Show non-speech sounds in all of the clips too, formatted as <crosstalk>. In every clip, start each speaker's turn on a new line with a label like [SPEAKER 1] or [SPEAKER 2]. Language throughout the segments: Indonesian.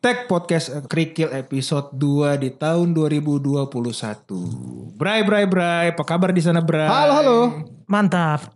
[SPEAKER 1] Tech Podcast Kerikil episode 2 di tahun 2021. Bray, Bray, Bray, apa kabar di sana Bray?
[SPEAKER 2] Halo, halo.
[SPEAKER 3] Mantap.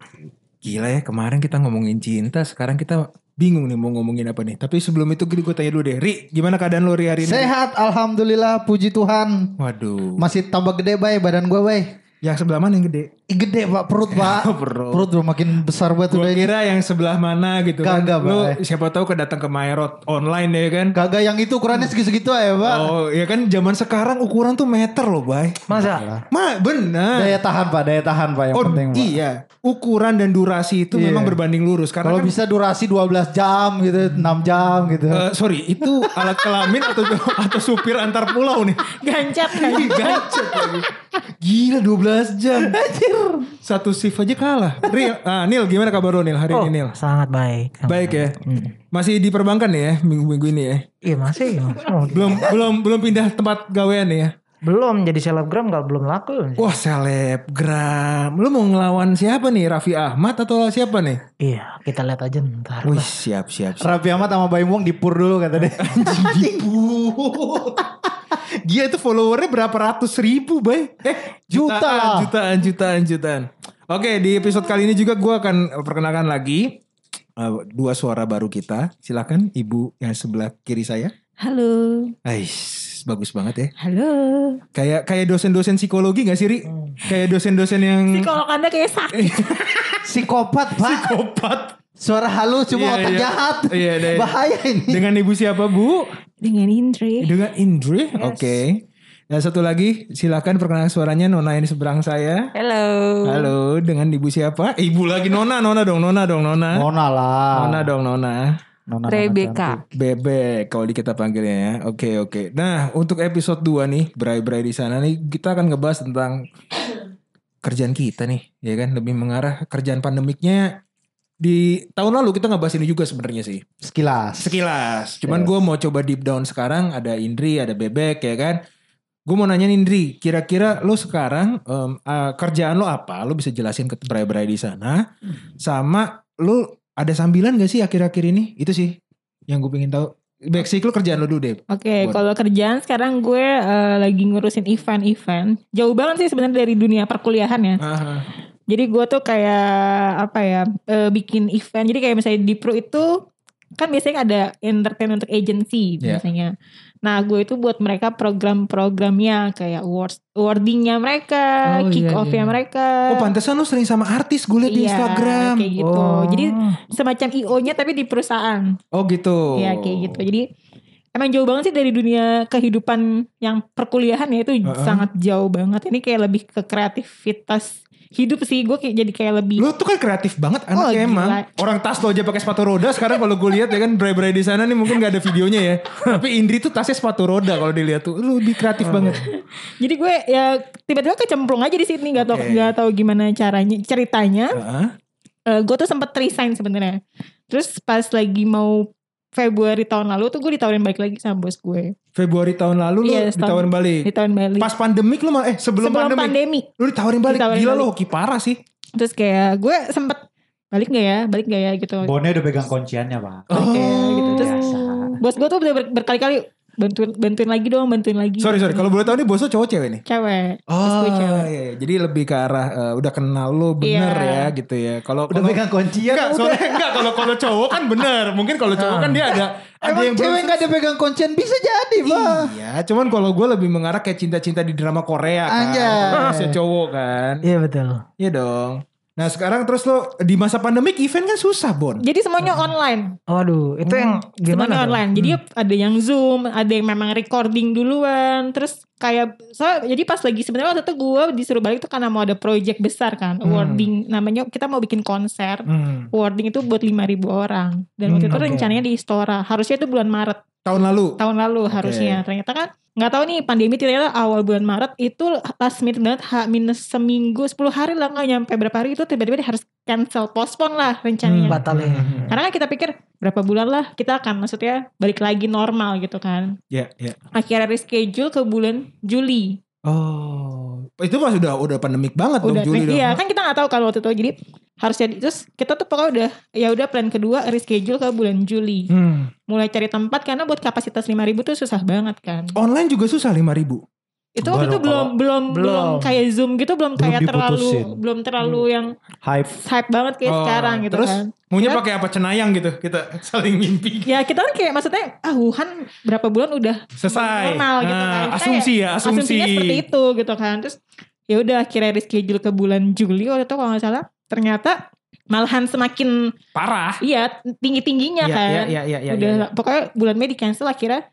[SPEAKER 1] Gila ya, kemarin kita ngomongin cinta, sekarang kita bingung nih mau ngomongin apa nih. Tapi sebelum itu gue tanya dulu deh, Ri, gimana keadaan lo Ri hari ini?
[SPEAKER 2] Sehat, alhamdulillah, puji Tuhan.
[SPEAKER 1] Waduh,
[SPEAKER 2] Masih tambah gede bay badan gue bay.
[SPEAKER 1] yang sebelah mana yang gede?
[SPEAKER 2] Ih, Gede pak perut pak.
[SPEAKER 1] <laughs> Perut.
[SPEAKER 2] perut udah makin besar banget
[SPEAKER 1] Gue
[SPEAKER 2] udah ini.
[SPEAKER 1] kira yang sebelah mana gitu kan.
[SPEAKER 2] Kagak,
[SPEAKER 1] Lo
[SPEAKER 2] Bray.
[SPEAKER 1] siapa tahu kedatang ke Maerot online ya kan.
[SPEAKER 2] Kagak yang itu ukurannya segitu-segitu aja pak.
[SPEAKER 1] Oh, ya kan zaman sekarang ukuran tuh meter loh, Bay.
[SPEAKER 3] Masa?
[SPEAKER 1] Ma, benar.
[SPEAKER 2] Daya tahan pak, daya tahan pak yang
[SPEAKER 1] Oh,
[SPEAKER 2] penting pak.
[SPEAKER 1] iya. Ukuran dan durasi itu
[SPEAKER 2] Iya.
[SPEAKER 1] memang berbanding lurus karena
[SPEAKER 2] Kalau
[SPEAKER 1] kan,
[SPEAKER 2] bisa durasi 12 jam gitu, 6 jam gitu.
[SPEAKER 1] eh, sorry, itu alat kelamin atau <laughs> atau supir antar pulau nih.
[SPEAKER 3] Gancet
[SPEAKER 1] Ih, Gancet lagi. Gila 12 jam. Satu shift aja kalah. Real. Ah, Nil, gimana kabar lo Nil hari
[SPEAKER 3] Oh,
[SPEAKER 1] ini Nil?
[SPEAKER 3] sangat baik.
[SPEAKER 1] Baik ya. Masih di perbankan ya minggu-minggu ini ya.
[SPEAKER 3] Iya masih. Oh,
[SPEAKER 1] Belum belum belum pindah tempat gawean ya.
[SPEAKER 3] belum jadi selebgram kalau belum laku.
[SPEAKER 1] Wah selebgram Lu mau ngelawan siapa nih Raffi Ahmad atau siapa nih
[SPEAKER 3] Iya, kita lihat aja ntar.
[SPEAKER 1] Wih siap siap siap
[SPEAKER 2] Raffi Ahmad sama Baim Wong dipur dulu kata dia.
[SPEAKER 1] Dia itu followernya berapa ratus ribu bay Eh
[SPEAKER 2] Juta.
[SPEAKER 1] jutaan jutaan jutaan jutaan Oke di episode kali ini juga gua akan perkenalkan lagi eh, Dua suara baru kita Silakan ibu yang sebelah kiri saya
[SPEAKER 4] Halo,
[SPEAKER 1] Ais bagus banget ya
[SPEAKER 4] halo.
[SPEAKER 1] Kayak kayak dosen-dosen psikologi gak sih Ri? Kayak dosen-dosen yang
[SPEAKER 4] Psikolog anda kayak sakit.
[SPEAKER 2] Psikopat pak.
[SPEAKER 1] psikopat
[SPEAKER 2] Suara halus
[SPEAKER 1] Iya,
[SPEAKER 2] cuma otak
[SPEAKER 1] iya.
[SPEAKER 2] jahat.
[SPEAKER 1] Iya, iya.
[SPEAKER 2] Bahaya ini.
[SPEAKER 1] Dengan ibu siapa bu?
[SPEAKER 4] Dengan Indri.
[SPEAKER 1] Dengan Indri, oke. Dan satu lagi, silakan perkenalkan suaranya Nona yang di seberang saya.
[SPEAKER 4] Halo.
[SPEAKER 1] Halo, dengan ibu siapa? Eh, Ibu lagi Nona, Nona dong, Nona dong, Nona.
[SPEAKER 2] Nona lah.
[SPEAKER 1] Nona dong, Nona.
[SPEAKER 2] Nona, Nona cantik.
[SPEAKER 4] Rebecca.
[SPEAKER 1] Bebek kalau di kita panggilnya ya. Oke, oke. Nah, untuk episode 2 nih, berai-berai di sana nih, kita akan ngebahas tentang kerjaan kita nih, ya kan? Lebih mengarah kerjaan pandemiknya di tahun lalu kita ngebahas ini juga sebenarnya sih.
[SPEAKER 2] Sekilas.
[SPEAKER 1] Sekilas. Cuman gue mau coba deep down sekarang. Ada Indri, ada Bebek ya kan. Gue mau nanya Indri, kira-kira lo sekarang em, eh, kerjaan lo apa? Lo bisa jelasin ke berai-berai di sana.
[SPEAKER 4] Hmm.
[SPEAKER 1] Sama lo ada sambilan gak sih akhir-akhir ini? Itu sih yang gue pengen tahu. Backseat lo kerjaan lo dulu deh.
[SPEAKER 4] Oke,
[SPEAKER 1] Buat-
[SPEAKER 4] kalau kerjaan sekarang gue eh, lagi ngurusin event-event. Jauh banget sih sebenarnya dari dunia perkuliahan ya.
[SPEAKER 1] Aha.
[SPEAKER 4] Jadi gue tuh kayak apa ya, eh, bikin event. Jadi kayak misalnya di Pro itu kan biasanya ada entertain untuk agency
[SPEAKER 1] Iya.
[SPEAKER 4] biasanya. Nah, gue itu buat mereka program-programnya kayak awards, awardingnya mereka,
[SPEAKER 1] Oh, iya,
[SPEAKER 4] kick off-nya
[SPEAKER 1] iya.
[SPEAKER 4] mereka.
[SPEAKER 1] Oh pantesan lo sering sama artis gue liat di
[SPEAKER 4] Iya,
[SPEAKER 1] Instagram.
[SPEAKER 4] kayak gitu.
[SPEAKER 1] Oh.
[SPEAKER 4] Jadi semacam IO-nya tapi di perusahaan.
[SPEAKER 1] oh gitu.
[SPEAKER 4] Ya kayak gitu. Jadi emang jauh banget sih dari dunia kehidupan yang perkuliahan ya itu
[SPEAKER 1] Heeh.
[SPEAKER 4] sangat jauh banget. Ini kayak lebih ke kreativitas hidup sih. Gue kayak jadi kayak lebih
[SPEAKER 1] Lu tuh kan kreatif banget
[SPEAKER 4] Oh,
[SPEAKER 1] anaknya
[SPEAKER 4] gila.
[SPEAKER 1] emang. Orang tas lo aja pakai sepatu roda sekarang kalau gue lihat ya kan bray-bray di sana nih mungkin gak ada videonya
[SPEAKER 4] <laughs>
[SPEAKER 1] ya. Tapi Indri tuh tasnya sepatu roda kalau dilihat tuh lu lebih
[SPEAKER 4] Oh.
[SPEAKER 1] kreatif banget.
[SPEAKER 4] Jadi gue ya tiba-tiba kecemplung aja di sini nggak tau
[SPEAKER 1] Oke.
[SPEAKER 4] nggak tahu gimana caranya ceritanya.
[SPEAKER 1] Heeh.
[SPEAKER 4] Eh, gue tuh sempet resign sebenarnya. Terus pas lagi mau Februari tahun lalu tuh gue ditawarin balik lagi sama bos gue
[SPEAKER 1] Februari tahun lalu lu
[SPEAKER 4] Iya,
[SPEAKER 1] ditawarin
[SPEAKER 4] di
[SPEAKER 1] balik.
[SPEAKER 4] tahun Bali.
[SPEAKER 1] Pas pandemik lu malah eh sebelum,
[SPEAKER 4] Sebelum
[SPEAKER 1] pandemik
[SPEAKER 4] pandemi.
[SPEAKER 1] lu ditawarin balik.
[SPEAKER 4] Ditawarin
[SPEAKER 1] Gila lu
[SPEAKER 4] balik.
[SPEAKER 1] hoki parah sih.
[SPEAKER 4] Terus kayak gue sempet balik nggak ya, balik nggak ya gitu.
[SPEAKER 2] Bone udah pegang kunciannya pak.
[SPEAKER 3] Oh.
[SPEAKER 2] ya,
[SPEAKER 4] Kayak gitu. Terus
[SPEAKER 2] Biasa.
[SPEAKER 4] bos gue tuh udah ber- berkali-kali bantuin bantuin lagi dong, bantuin lagi.
[SPEAKER 1] Sorry sorry kalau boleh tahu nih bosnya cowok cewek nih.
[SPEAKER 4] Cewek. Iya, Bos
[SPEAKER 1] Oh
[SPEAKER 4] gue cewek.
[SPEAKER 1] iya, iya. jadi lebih ke arah eh, udah kenal lu bener
[SPEAKER 4] Iya.
[SPEAKER 1] ya gitu ya. Kalau
[SPEAKER 2] Udah
[SPEAKER 1] kalau-
[SPEAKER 2] pegang kuncian.
[SPEAKER 1] Enggak,
[SPEAKER 2] udah.
[SPEAKER 1] soalnya enggak kalau kalau cowok kan bener. Mungkin kalau cowok kan dia
[SPEAKER 4] <laughs>
[SPEAKER 1] ada ada
[SPEAKER 2] Emang
[SPEAKER 1] yang
[SPEAKER 2] cewek gak ada pegang kuncian bisa jadi pak.
[SPEAKER 1] Iya, cuman kalau gue lebih mengarah kayak cinta-cinta di drama Korea kan.
[SPEAKER 2] Anjay.
[SPEAKER 1] Kalau masih cowok kan.
[SPEAKER 3] Iya betul.
[SPEAKER 1] Iya dong. Nah sekarang terus lo di masa pandemik event kan susah Bon.
[SPEAKER 4] Jadi semuanya online.
[SPEAKER 3] Waduh, itu yang gimana?
[SPEAKER 4] Hmm, semuanya
[SPEAKER 3] tuh?
[SPEAKER 4] online. Jadi
[SPEAKER 2] Hmm.
[SPEAKER 4] ada yang Zoom, ada yang memang recording duluan. Terus kayak so, jadi pas lagi sebenarnya waktu itu gue disuruh balik tuh karena mau ada project besar kan,
[SPEAKER 3] Hmm.
[SPEAKER 4] awarding namanya kita mau bikin konser.
[SPEAKER 1] Hmm.
[SPEAKER 4] Awarding itu buat 5.000 orang. Dan waktu
[SPEAKER 3] Hmm,
[SPEAKER 4] itu
[SPEAKER 3] oke.
[SPEAKER 4] rencananya di Istora. Harusnya itu bulan Maret
[SPEAKER 1] Tahun lalu.
[SPEAKER 4] tahun lalu harusnya. Ternyata kan nggak tahu nih pandemi ternyata awal bulan Maret itu last minute banget H minus seminggu 10 hari lah nggak nyampe berapa hari itu tiba-tiba dia harus cancel postpone lah rencananya.
[SPEAKER 3] Hmm, batal ya.
[SPEAKER 1] Hmm.
[SPEAKER 4] Karena kan kita pikir berapa bulan lah kita akan maksudnya balik lagi normal gitu kan.
[SPEAKER 1] Ya, ya.
[SPEAKER 4] Akhirnya reschedule ke bulan Juli.
[SPEAKER 1] Oh, itu pas udah udah pandemik banget
[SPEAKER 4] Udah kan
[SPEAKER 1] dong Juli dong.
[SPEAKER 4] iya kan kita nggak tahu kalau waktu itu jadi harusnya di- terus kita tuh pokoknya udah ya udah plan kedua reschedule ke bulan Juli
[SPEAKER 1] Hmm.
[SPEAKER 4] mulai cari tempat karena buat kapasitas 5000 tuh susah banget kan
[SPEAKER 1] Online juga susah 5000
[SPEAKER 4] itu waktu
[SPEAKER 2] Baru
[SPEAKER 4] itu belum belum belum
[SPEAKER 3] Belum.
[SPEAKER 4] kayak zoom gitu belum,
[SPEAKER 2] Belum
[SPEAKER 4] kayak terlalu
[SPEAKER 2] diputusin.
[SPEAKER 4] belum terlalu
[SPEAKER 1] Hmm.
[SPEAKER 4] yang
[SPEAKER 2] Hype.
[SPEAKER 4] hype banget kayak
[SPEAKER 1] Oh,
[SPEAKER 4] sekarang gitu
[SPEAKER 1] terus?
[SPEAKER 4] kan
[SPEAKER 1] Maunya
[SPEAKER 4] Ya.
[SPEAKER 1] pakai apa cenayang gitu kita <laughs> saling mimpi.
[SPEAKER 4] ya kita kan kayak maksudnya ah Wuhan berapa bulan udah
[SPEAKER 1] Selesai.
[SPEAKER 4] Normal gitu
[SPEAKER 1] Nah,
[SPEAKER 4] kan. Kita
[SPEAKER 1] asumsi ya, asumsi.
[SPEAKER 4] asumsinya seperti itu gitu kan terus ya udah akhirnya reschedule ke bulan Juli waktu itu kalau nggak salah ternyata malahan semakin
[SPEAKER 1] Parah.
[SPEAKER 4] iya tinggi tingginya kan
[SPEAKER 1] iya iya iya.
[SPEAKER 4] udah pokoknya bulan Mei di cancel akhirnya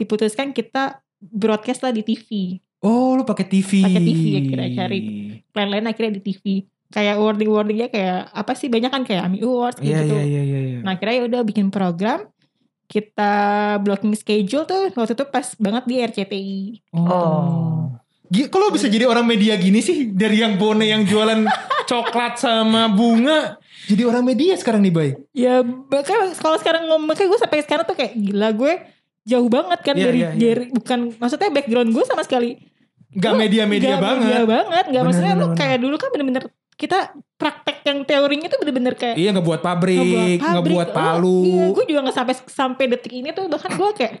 [SPEAKER 4] diputuskan kita broadcast lah di TV
[SPEAKER 1] Oh, lu pakai Iya, TV.
[SPEAKER 4] Pakai TV ya, kira cari. lain-lain akhirnya di TV kayak wording wordingnya kayak apa sih banyak kan kayak AMI Awards kayak
[SPEAKER 1] Iya
[SPEAKER 4] gitu
[SPEAKER 1] iya iya iya. iya.
[SPEAKER 4] nah akhirnya ya udah bikin program kita blocking schedule tuh waktu itu pas banget di RCTI Gitu.
[SPEAKER 3] Oh.
[SPEAKER 1] Gi- Kok lo bisa
[SPEAKER 4] Iya.
[SPEAKER 1] jadi orang media gini sih dari yang bone yang
[SPEAKER 4] <laughs>
[SPEAKER 1] jualan coklat sama bunga jadi orang media sekarang nih, Bay.
[SPEAKER 4] ya bahkan kalau sekarang ngomong kayak gue sampai sekarang tuh kayak gila gue jauh banget kan
[SPEAKER 1] Iya,
[SPEAKER 4] dari,
[SPEAKER 1] iya, iya.
[SPEAKER 4] dari- bukan maksudnya background gue sama sekali
[SPEAKER 1] Gak
[SPEAKER 4] Lu
[SPEAKER 1] media-media
[SPEAKER 4] nggak
[SPEAKER 1] Iya, banget.
[SPEAKER 4] media banget nggak
[SPEAKER 1] Bener,
[SPEAKER 4] maksudnya
[SPEAKER 1] bener,
[SPEAKER 4] lu
[SPEAKER 1] bener.
[SPEAKER 4] kayak dulu kan bener-bener kita praktek yang teorinya tuh bener-bener kayak
[SPEAKER 1] Iya ngebuat pabrik,
[SPEAKER 4] Ngebuat pabrik.
[SPEAKER 1] ngebuat
[SPEAKER 4] Oh,
[SPEAKER 1] palu.
[SPEAKER 4] Iya, gue juga nggak sampai sampai detik ini tuh bahkan gue kayak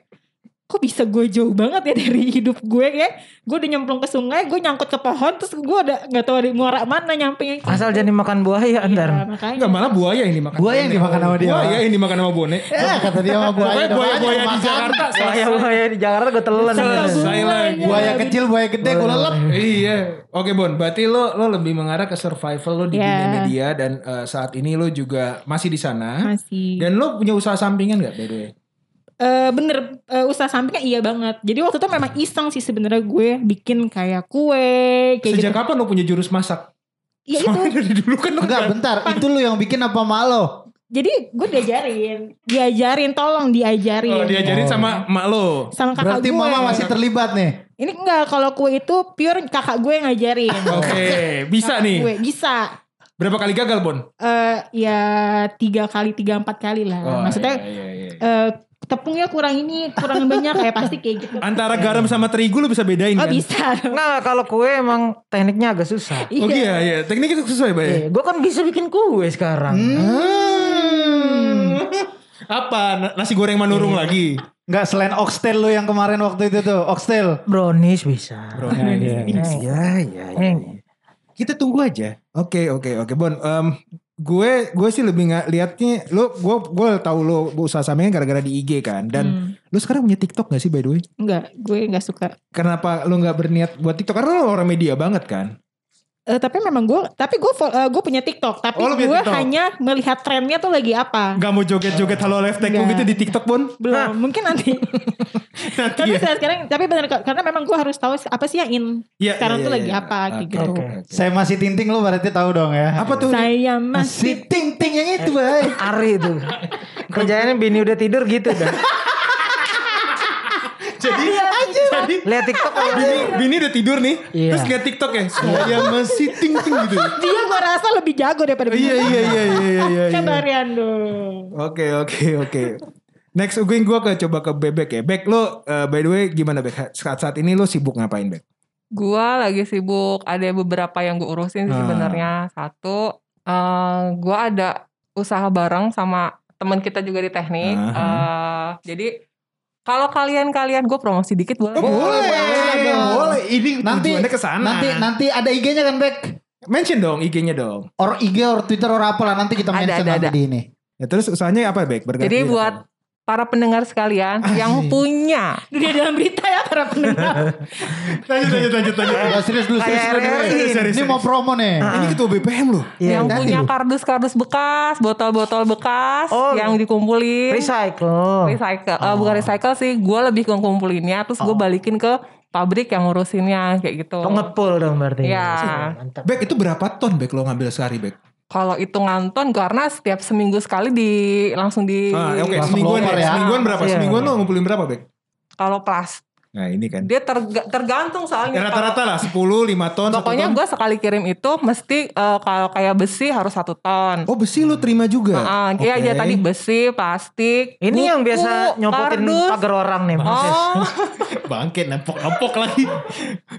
[SPEAKER 4] kok bisa gue jauh banget ya dari hidup gue ya. Gue udah nyemplung ke sungai, gue nyangkut ke pohon, terus gue udah nggak tahu di muara mana nyampe yang
[SPEAKER 3] Asal jadi makan buaya
[SPEAKER 4] Iya,
[SPEAKER 3] antar.
[SPEAKER 4] makanya.
[SPEAKER 1] Enggak malah buaya yang dimakan.
[SPEAKER 2] Buaya yang
[SPEAKER 1] Bone.
[SPEAKER 2] dimakan sama dia.
[SPEAKER 1] Buaya yang dimakan sama bone.
[SPEAKER 2] Ya kata dia sama <laughs> buaya.
[SPEAKER 1] Pokoknya
[SPEAKER 2] doang,
[SPEAKER 1] buaya-buaya
[SPEAKER 2] makan.
[SPEAKER 1] di Jakarta
[SPEAKER 3] Buaya
[SPEAKER 1] selesai.
[SPEAKER 3] buaya di Jakarta gue telan.
[SPEAKER 4] Selesai.
[SPEAKER 1] Selesai lah.
[SPEAKER 4] Buaya.
[SPEAKER 2] Buaya kecil, buaya gede, gue lelep.
[SPEAKER 1] Iya. Oke Bon, berarti lo lo lebih mengarah ke survival lo di
[SPEAKER 4] Iya.
[SPEAKER 1] dunia media dan eh, saat ini lo juga masih di sana.
[SPEAKER 4] masih
[SPEAKER 1] Dan lo punya usaha sampingan gak by the way?
[SPEAKER 4] Eh, bener eh, usaha sampingnya iya banget. Jadi waktu itu memang iseng sih sebenarnya gue bikin kayak kue kayak
[SPEAKER 1] Sejak
[SPEAKER 4] gitu.
[SPEAKER 1] kapan lo punya jurus masak?
[SPEAKER 4] Iya itu.
[SPEAKER 1] Soalnya dari dulu kan lo
[SPEAKER 2] Enggak, bentar. Itu lu yang bikin apa malo?
[SPEAKER 4] Jadi gue diajarin, diajarin tolong diajarin.
[SPEAKER 1] Oh, diajarin
[SPEAKER 2] Oh.
[SPEAKER 1] sama emak lo.
[SPEAKER 4] Iya. sama kakak
[SPEAKER 2] Berarti
[SPEAKER 4] gue.
[SPEAKER 1] ya.
[SPEAKER 2] mama masih terlibat nih.
[SPEAKER 4] Ini enggak kalau kue itu pure kakak gue yang ngajarin.
[SPEAKER 1] Oke, Ah, bisa
[SPEAKER 4] Kakak
[SPEAKER 1] nih.
[SPEAKER 4] Gue bisa.
[SPEAKER 1] Berapa kali gagal, Bon?
[SPEAKER 4] eh ya tiga kali tiga empat kali lah maksudnya
[SPEAKER 1] iya, iya, iya.
[SPEAKER 4] eh, tepungnya kurang ini kurang banyak kayak pasti kayak gitu
[SPEAKER 1] antara garam sama terigu lo bisa bedain
[SPEAKER 4] oh
[SPEAKER 1] kan?
[SPEAKER 4] bisa <laughs>
[SPEAKER 3] Nah kalau kue emang tekniknya agak susah.
[SPEAKER 1] Oh iya, iya. Tekniknya sesuai, Bay.
[SPEAKER 4] Iya.
[SPEAKER 3] Eh, gue kan bisa bikin kue sekarang.
[SPEAKER 1] Hmm. Apa na- nasi goreng
[SPEAKER 4] Iya.
[SPEAKER 1] manurung lagi?
[SPEAKER 2] Enggak selain oxtail lu yang kemarin waktu itu tuh,
[SPEAKER 1] <laughs>
[SPEAKER 2] oxtail.
[SPEAKER 3] Brownies bisa.
[SPEAKER 1] Iya, iya, iya.
[SPEAKER 3] Eh,
[SPEAKER 1] Kita tunggu aja. Oke, oke, oke, Bon. Em, gue gue sih lebih nggak liatnya lo gue gue tahu lo usaha sampingan gara-gara di IG kan dan
[SPEAKER 4] Hmm.
[SPEAKER 1] lo sekarang punya TikTok gak sih by the way?
[SPEAKER 4] enggak gue enggak suka
[SPEAKER 1] Kenapa lo nggak berniat buat TikTok? Karena lo orang media banget kan.
[SPEAKER 4] Eh, tapi memang gue tapi gue fol- eh, gue punya TikTok tapi
[SPEAKER 1] Oh, lu punya
[SPEAKER 4] gue
[SPEAKER 1] TikTok.
[SPEAKER 4] hanya melihat trennya tuh lagi apa
[SPEAKER 1] Gak mau joget-joget
[SPEAKER 4] Iya.
[SPEAKER 1] halo live tag
[SPEAKER 4] Nggak.
[SPEAKER 1] gitu di TikTok pun
[SPEAKER 4] belum mungkin
[SPEAKER 1] <laughs>
[SPEAKER 4] nanti
[SPEAKER 1] Iya. nanti
[SPEAKER 4] tapi
[SPEAKER 1] ya.
[SPEAKER 4] sekarang, sekarang tapi benar karena memang gue harus tahu apa sih yang in
[SPEAKER 1] Iya,
[SPEAKER 4] sekarang
[SPEAKER 1] iya,
[SPEAKER 4] tuh
[SPEAKER 1] iya,
[SPEAKER 4] lagi
[SPEAKER 1] iya.
[SPEAKER 4] apa, kayak
[SPEAKER 1] Oke,
[SPEAKER 4] gitu.
[SPEAKER 1] oke, oke.
[SPEAKER 2] Saya masih tinting lu berarti tahu dong ya.
[SPEAKER 1] Apa tuh? Eh,
[SPEAKER 4] saya
[SPEAKER 1] <laughs>
[SPEAKER 4] masih
[SPEAKER 2] Si ting ting yang itu, Bay.
[SPEAKER 3] Ari itu. Kerjaannya bini udah tidur gitu <laughs> dah.
[SPEAKER 1] Jadi
[SPEAKER 3] Iya.
[SPEAKER 1] jadi
[SPEAKER 3] Lihat TikTok kalau
[SPEAKER 1] bini, bini udah tidur nih,
[SPEAKER 3] Iya.
[SPEAKER 1] terus lihat TikTok ya. Saya masih ting ting gitu.
[SPEAKER 4] dia gue rasa lebih jago daripada
[SPEAKER 1] iya iya iya iya iya. iya.
[SPEAKER 4] kabarin dong
[SPEAKER 1] Oke oke oke. Next Uguing gue ke coba ke Bebek ya. Bek lo eh, by the way gimana Bek? Saat saat ini lo sibuk ngapain Bek?
[SPEAKER 5] Gua lagi sibuk, ada beberapa yang gue urusin sih
[SPEAKER 1] Ah.
[SPEAKER 5] sebenarnya. Satu, eh gua ada usaha bareng sama teman kita juga di teknik.
[SPEAKER 1] Aha.
[SPEAKER 5] Eh, jadi kalau kalian-kalian gue promosi dikit boleh.
[SPEAKER 1] Oh, boleh,
[SPEAKER 2] boleh,
[SPEAKER 1] boleh. Ini
[SPEAKER 2] Nanti
[SPEAKER 1] tujuannya ke sana.
[SPEAKER 2] nanti nanti ada IG-nya kan, Bek?
[SPEAKER 1] mention dong IG-nya dong.
[SPEAKER 2] Or IG or Twitter or apa lah nanti kita
[SPEAKER 5] Ada,
[SPEAKER 2] mention
[SPEAKER 5] ada,
[SPEAKER 2] nanti
[SPEAKER 5] ada.
[SPEAKER 2] di ini.
[SPEAKER 1] Ya, terus usahanya apa Bek? Berganti
[SPEAKER 5] Jadi
[SPEAKER 1] apa?
[SPEAKER 5] buat para pendengar sekalian yang punya
[SPEAKER 4] dunia dalam berita ya para pendengar
[SPEAKER 1] lanjut lanjut lanjut lanjut.
[SPEAKER 2] Nah, serius dulu, serius dulu.
[SPEAKER 5] Kayak
[SPEAKER 2] Serius, serius, Ini mau promo nih.
[SPEAKER 1] ini ketua BPM loh.
[SPEAKER 3] iya.
[SPEAKER 5] yang
[SPEAKER 2] nanti
[SPEAKER 5] punya
[SPEAKER 2] lu.
[SPEAKER 5] kardus-kardus bekas, botol-botol bekas
[SPEAKER 3] Oh.
[SPEAKER 5] yang dikumpulin.
[SPEAKER 3] recycle.
[SPEAKER 5] recycle Eh, bukan recycle sih gue lebih ke ngumpulinnya terus gue balikin ke pabrik yang ngurusinnya kayak gitu
[SPEAKER 3] Pengepul dong berarti.
[SPEAKER 5] Iya.
[SPEAKER 3] Mantap.
[SPEAKER 1] Bek itu berapa ton Bek lo ngambil sehari Bek?
[SPEAKER 5] kalau hitungan ton karena setiap seminggu sekali di langsung di
[SPEAKER 1] Ah, oke
[SPEAKER 2] Langsung
[SPEAKER 1] semingguan
[SPEAKER 2] loper
[SPEAKER 1] ya.
[SPEAKER 2] ya.
[SPEAKER 1] Semingguan berapa?
[SPEAKER 3] Iya.
[SPEAKER 1] Semingguan lo ngumpulin berapa, Bek?
[SPEAKER 5] kalau plas
[SPEAKER 1] Nah ini kan.
[SPEAKER 5] Dia terga-
[SPEAKER 1] Ya,
[SPEAKER 5] tergantung soalnya. Kalau-
[SPEAKER 1] rata-rata lah 10, 5 ton, 1
[SPEAKER 5] Pokoknya
[SPEAKER 1] ton.
[SPEAKER 5] gue sekali kirim itu mesti eh, kalau kayak besi harus satu ton.
[SPEAKER 1] Oh besi lu terima juga?
[SPEAKER 5] Heeh, Iya iya
[SPEAKER 1] Oke.
[SPEAKER 5] tadi besi, plastik.
[SPEAKER 3] Ini
[SPEAKER 5] buku,
[SPEAKER 3] yang biasa nyopotin
[SPEAKER 5] kardus.
[SPEAKER 3] pagar orang nih. Moses.
[SPEAKER 5] Oh,
[SPEAKER 1] Bangkit, nepok-nepok lagi.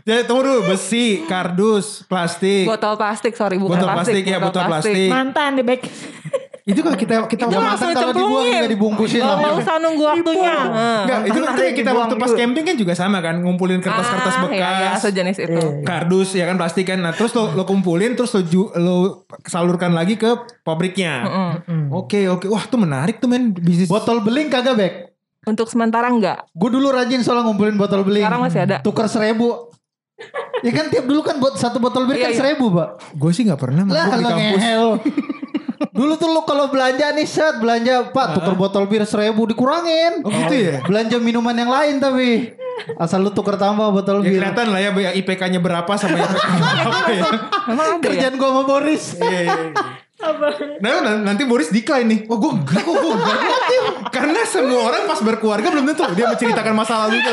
[SPEAKER 1] Jadi tunggu dulu, besi, kardus, plastik.
[SPEAKER 5] botol plastik sorry bukan
[SPEAKER 1] Botol plastik, ya, botol plastik.
[SPEAKER 4] Mantan the back.
[SPEAKER 2] Itu kan kita kita mau
[SPEAKER 5] Itu
[SPEAKER 2] makan
[SPEAKER 5] langsung
[SPEAKER 2] kalau dibuang
[SPEAKER 5] dicemplungin.
[SPEAKER 2] nggak dibungkusin
[SPEAKER 5] Gak
[SPEAKER 3] Iya.
[SPEAKER 2] langsung.
[SPEAKER 5] usah nunggu waktunya. Heeh.
[SPEAKER 1] Enggak, itu,
[SPEAKER 3] Mantan
[SPEAKER 1] itu
[SPEAKER 3] ada
[SPEAKER 1] yang
[SPEAKER 3] yang
[SPEAKER 1] kita
[SPEAKER 3] dibuang
[SPEAKER 1] waktu pas
[SPEAKER 3] dulu.
[SPEAKER 1] camping kan juga sama kan, ngumpulin kertas-kertas
[SPEAKER 5] Ah,
[SPEAKER 1] bekas.
[SPEAKER 5] ya, ya, sejenis itu.
[SPEAKER 3] Iya.
[SPEAKER 1] kardus ya kan plastik kan nah terus lo, lo kumpulin terus lo, ju- lo salurkan lagi ke pabriknya oke oke wah tuh menarik tuh men bisnis
[SPEAKER 2] Botol beling kagak bek.
[SPEAKER 5] Untuk sementara enggak.
[SPEAKER 2] Gue dulu rajin soalnya ngumpulin botol beling.
[SPEAKER 5] Sekarang masih ada.
[SPEAKER 2] Tukar seribu. ya kan tiap dulu kan buat satu botol beling kan
[SPEAKER 5] Iya, iya.
[SPEAKER 2] seribu pak.
[SPEAKER 1] gue sih nggak pernah mabuk
[SPEAKER 2] Lah
[SPEAKER 1] Nah, di
[SPEAKER 2] lo
[SPEAKER 1] kampus <laughs>
[SPEAKER 2] ngehel. dulu tuh lo kalau belanja nih set belanja pak tukar botol bir seribu dikurangin.
[SPEAKER 1] Nah. oh gitu ya
[SPEAKER 2] Belanja minuman yang lain tapi asal lu tukar tambah botol
[SPEAKER 1] ya
[SPEAKER 2] bir.
[SPEAKER 1] kelihatan lah ya IPK-nya berapa sama IPK
[SPEAKER 5] <laughs>
[SPEAKER 1] berapa ya
[SPEAKER 5] Emang ada ya?
[SPEAKER 2] Kerjaan gua sama Boris.
[SPEAKER 1] Iya, iya, iya.
[SPEAKER 4] Apa?
[SPEAKER 1] Nah, nan- nanti Boris decline nih. Oh, gue enggak kok, gue enggak. Karena semua orang pas berkeluarga belum tentu dia menceritakan masa lalu itu.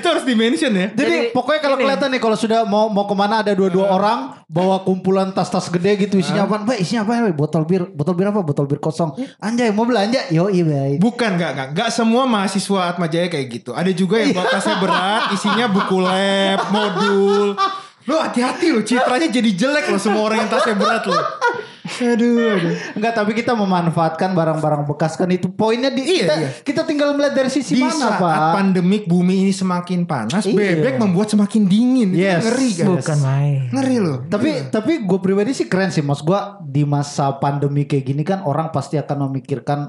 [SPEAKER 1] Itu harus di-mention ya.
[SPEAKER 2] Jadi, pokoknya kalau kelihatan nih kalau sudah mau mau kemana ada dua-dua
[SPEAKER 1] Ah.
[SPEAKER 2] orang bawa kumpulan tas-tas gede gitu isinya apa? Mbak isinya apa? Mbak? Botol bir, botol bir apa? Botol bir kosong.
[SPEAKER 1] Iya.
[SPEAKER 2] Anjay mau belanja? Yo iya baik.
[SPEAKER 1] Bukan, enggak, enggak. Enggak semua mahasiswa Atma Jaya kayak gitu. Ada juga yang batasnya berat, isinya buku lab, modul. Lo hati-hati lo, citranya jadi jelek lo semua orang yang tasnya berat lo. Aduh, aduh.
[SPEAKER 2] Enggak tapi kita memanfaatkan barang-barang bekas kan itu poinnya di
[SPEAKER 1] Iya,
[SPEAKER 2] kita,
[SPEAKER 1] iya.
[SPEAKER 2] kita tinggal melihat dari sisi
[SPEAKER 1] Di
[SPEAKER 2] mana
[SPEAKER 1] saat
[SPEAKER 2] pak?
[SPEAKER 1] pandemik bumi ini semakin panas,
[SPEAKER 2] Iya.
[SPEAKER 1] bebek membuat semakin dingin. Itu
[SPEAKER 2] Yes.
[SPEAKER 1] ngeri kan.
[SPEAKER 3] Bukan main.
[SPEAKER 1] Ngeri loh.
[SPEAKER 2] Tapi tapi gue pribadi sih keren sih mas gue di masa pandemi kayak gini kan orang pasti akan memikirkan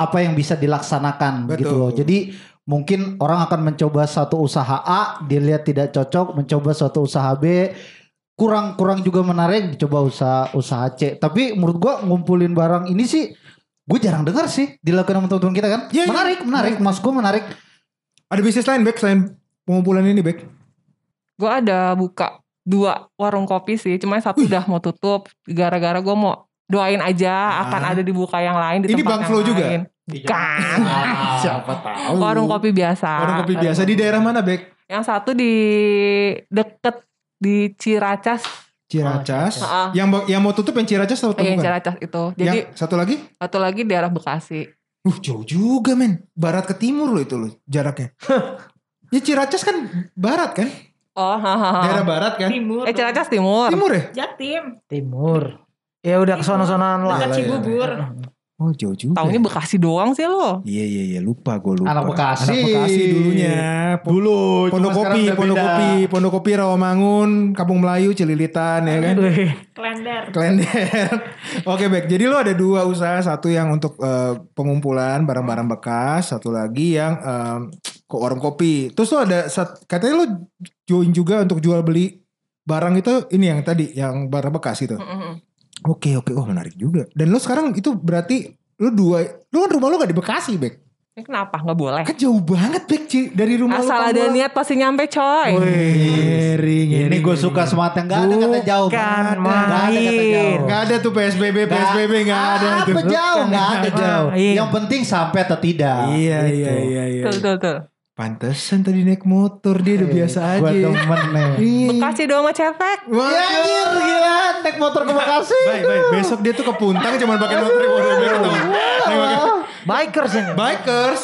[SPEAKER 2] apa yang bisa dilaksanakan
[SPEAKER 1] Betul.
[SPEAKER 2] gitu loh. Jadi mungkin orang akan mencoba satu usaha A dilihat tidak cocok, mencoba suatu usaha B kurang kurang juga menarik dicoba usaha usaha C. Tapi menurut gue ngumpulin barang ini sih gue jarang dengar sih dilakukan sama teman-teman kita kan.
[SPEAKER 1] Iya, iya.
[SPEAKER 2] menarik menarik mas gue menarik.
[SPEAKER 1] Ada bisnis lain, Bek, selain pengumpulan ini, Bek?
[SPEAKER 5] Gue ada buka dua warung kopi sih. Cuma satu udah mau tutup. Gara-gara gue mau doain aja
[SPEAKER 1] Ah.
[SPEAKER 5] akan ada dibuka yang lain
[SPEAKER 1] Ini
[SPEAKER 5] di tempat
[SPEAKER 1] Bang
[SPEAKER 5] yang
[SPEAKER 1] Flo juga?
[SPEAKER 5] lain. Bukan.
[SPEAKER 1] Siapa tahu.
[SPEAKER 5] Warung kopi biasa.
[SPEAKER 1] Warung kopi biasa di daerah mana, Bek?
[SPEAKER 5] Yang satu di deket di Ciracas.
[SPEAKER 1] Ciracas.
[SPEAKER 5] Ah.
[SPEAKER 1] Yang ba- yang mau tutup yang Ciracas atau
[SPEAKER 5] Eh, yang
[SPEAKER 1] bukan?
[SPEAKER 5] Ciracas itu. Jadi
[SPEAKER 1] yang satu lagi?
[SPEAKER 5] satu lagi daerah Bekasi.
[SPEAKER 1] Uh, jauh juga, men. Barat ke timur loh itu loh
[SPEAKER 5] <laughs>
[SPEAKER 1] jaraknya. ya Ciracas kan barat kan?
[SPEAKER 5] Oh, hahaha.
[SPEAKER 1] Daerah barat kan?
[SPEAKER 4] Timur.
[SPEAKER 5] Eh Ciracas Timur.
[SPEAKER 1] Timur ya?
[SPEAKER 4] Jatim.
[SPEAKER 3] Timur. Ya udah kesono-sonoan lah.
[SPEAKER 4] Dekat
[SPEAKER 1] Lah,
[SPEAKER 4] Cibubur.
[SPEAKER 1] Oh, jauh juga.
[SPEAKER 5] Taunya Bekasi doang sih lo.
[SPEAKER 1] Iya iya iya lupa gue lupa.
[SPEAKER 2] Anak Bekasi.
[SPEAKER 1] Anak Bekasi dulunya. Po-
[SPEAKER 2] Dulu
[SPEAKER 1] Pondok Kopi, Pondok Kopi, Pondok Kopi Rawamangun, Kampung Melayu, Cililitan ya kan.
[SPEAKER 3] Wih,
[SPEAKER 4] Klender.
[SPEAKER 1] Klender. Oke, baik. Jadi lo ada dua usaha, satu yang untuk eh, pengumpulan barang-barang bekas, satu lagi yang em, ke warung kopi. Terus lo ada sat- katanya lo join juga untuk jual beli barang itu ini yang tadi yang barang bekas gitu. Oke, oke. Oh, menarik juga. Dan lo sekarang itu berarti lo dua lo kan rumah lo gak di Bekasi, Bek.
[SPEAKER 5] Ini kenapa nggak boleh?
[SPEAKER 1] Kan jauh banget, Bek, Ci, dari rumah
[SPEAKER 5] Asal
[SPEAKER 1] lo.
[SPEAKER 5] ada niat pasti nyampe coy.
[SPEAKER 1] Ngeri,
[SPEAKER 2] Ini
[SPEAKER 1] Iya.
[SPEAKER 2] gue suka semangat yang gak ada kata jauh.
[SPEAKER 3] Bukan
[SPEAKER 2] Nggak ada, nggak ada kata jauh.
[SPEAKER 3] main.
[SPEAKER 1] Gak ada tuh PSBB, PSBB gak ada
[SPEAKER 2] apa
[SPEAKER 1] itu.
[SPEAKER 2] jauh Ah, nggak ada
[SPEAKER 3] Bukan.
[SPEAKER 2] jauh.
[SPEAKER 3] Ah, iya.
[SPEAKER 2] Yang penting sampai atau tidak.
[SPEAKER 1] Iya,
[SPEAKER 2] Gitu.
[SPEAKER 1] iya, iya, iya.
[SPEAKER 5] Tuh, tuh, tuh.
[SPEAKER 1] Pantesan tadi naik motor dia udah biasa
[SPEAKER 2] Gua
[SPEAKER 1] aja.
[SPEAKER 2] demen <laughs> nih.
[SPEAKER 1] Iya.
[SPEAKER 5] Bekasi doang sama Cepek.
[SPEAKER 1] Wah,
[SPEAKER 2] Ya anjir gila naik motor ke <laughs> Bekasi.
[SPEAKER 1] Baik, baik. Besok dia tuh ke Puntang cuman pakai motor di motor bengkel. Nih, pakai
[SPEAKER 3] Bikers ini.
[SPEAKER 1] Bikers.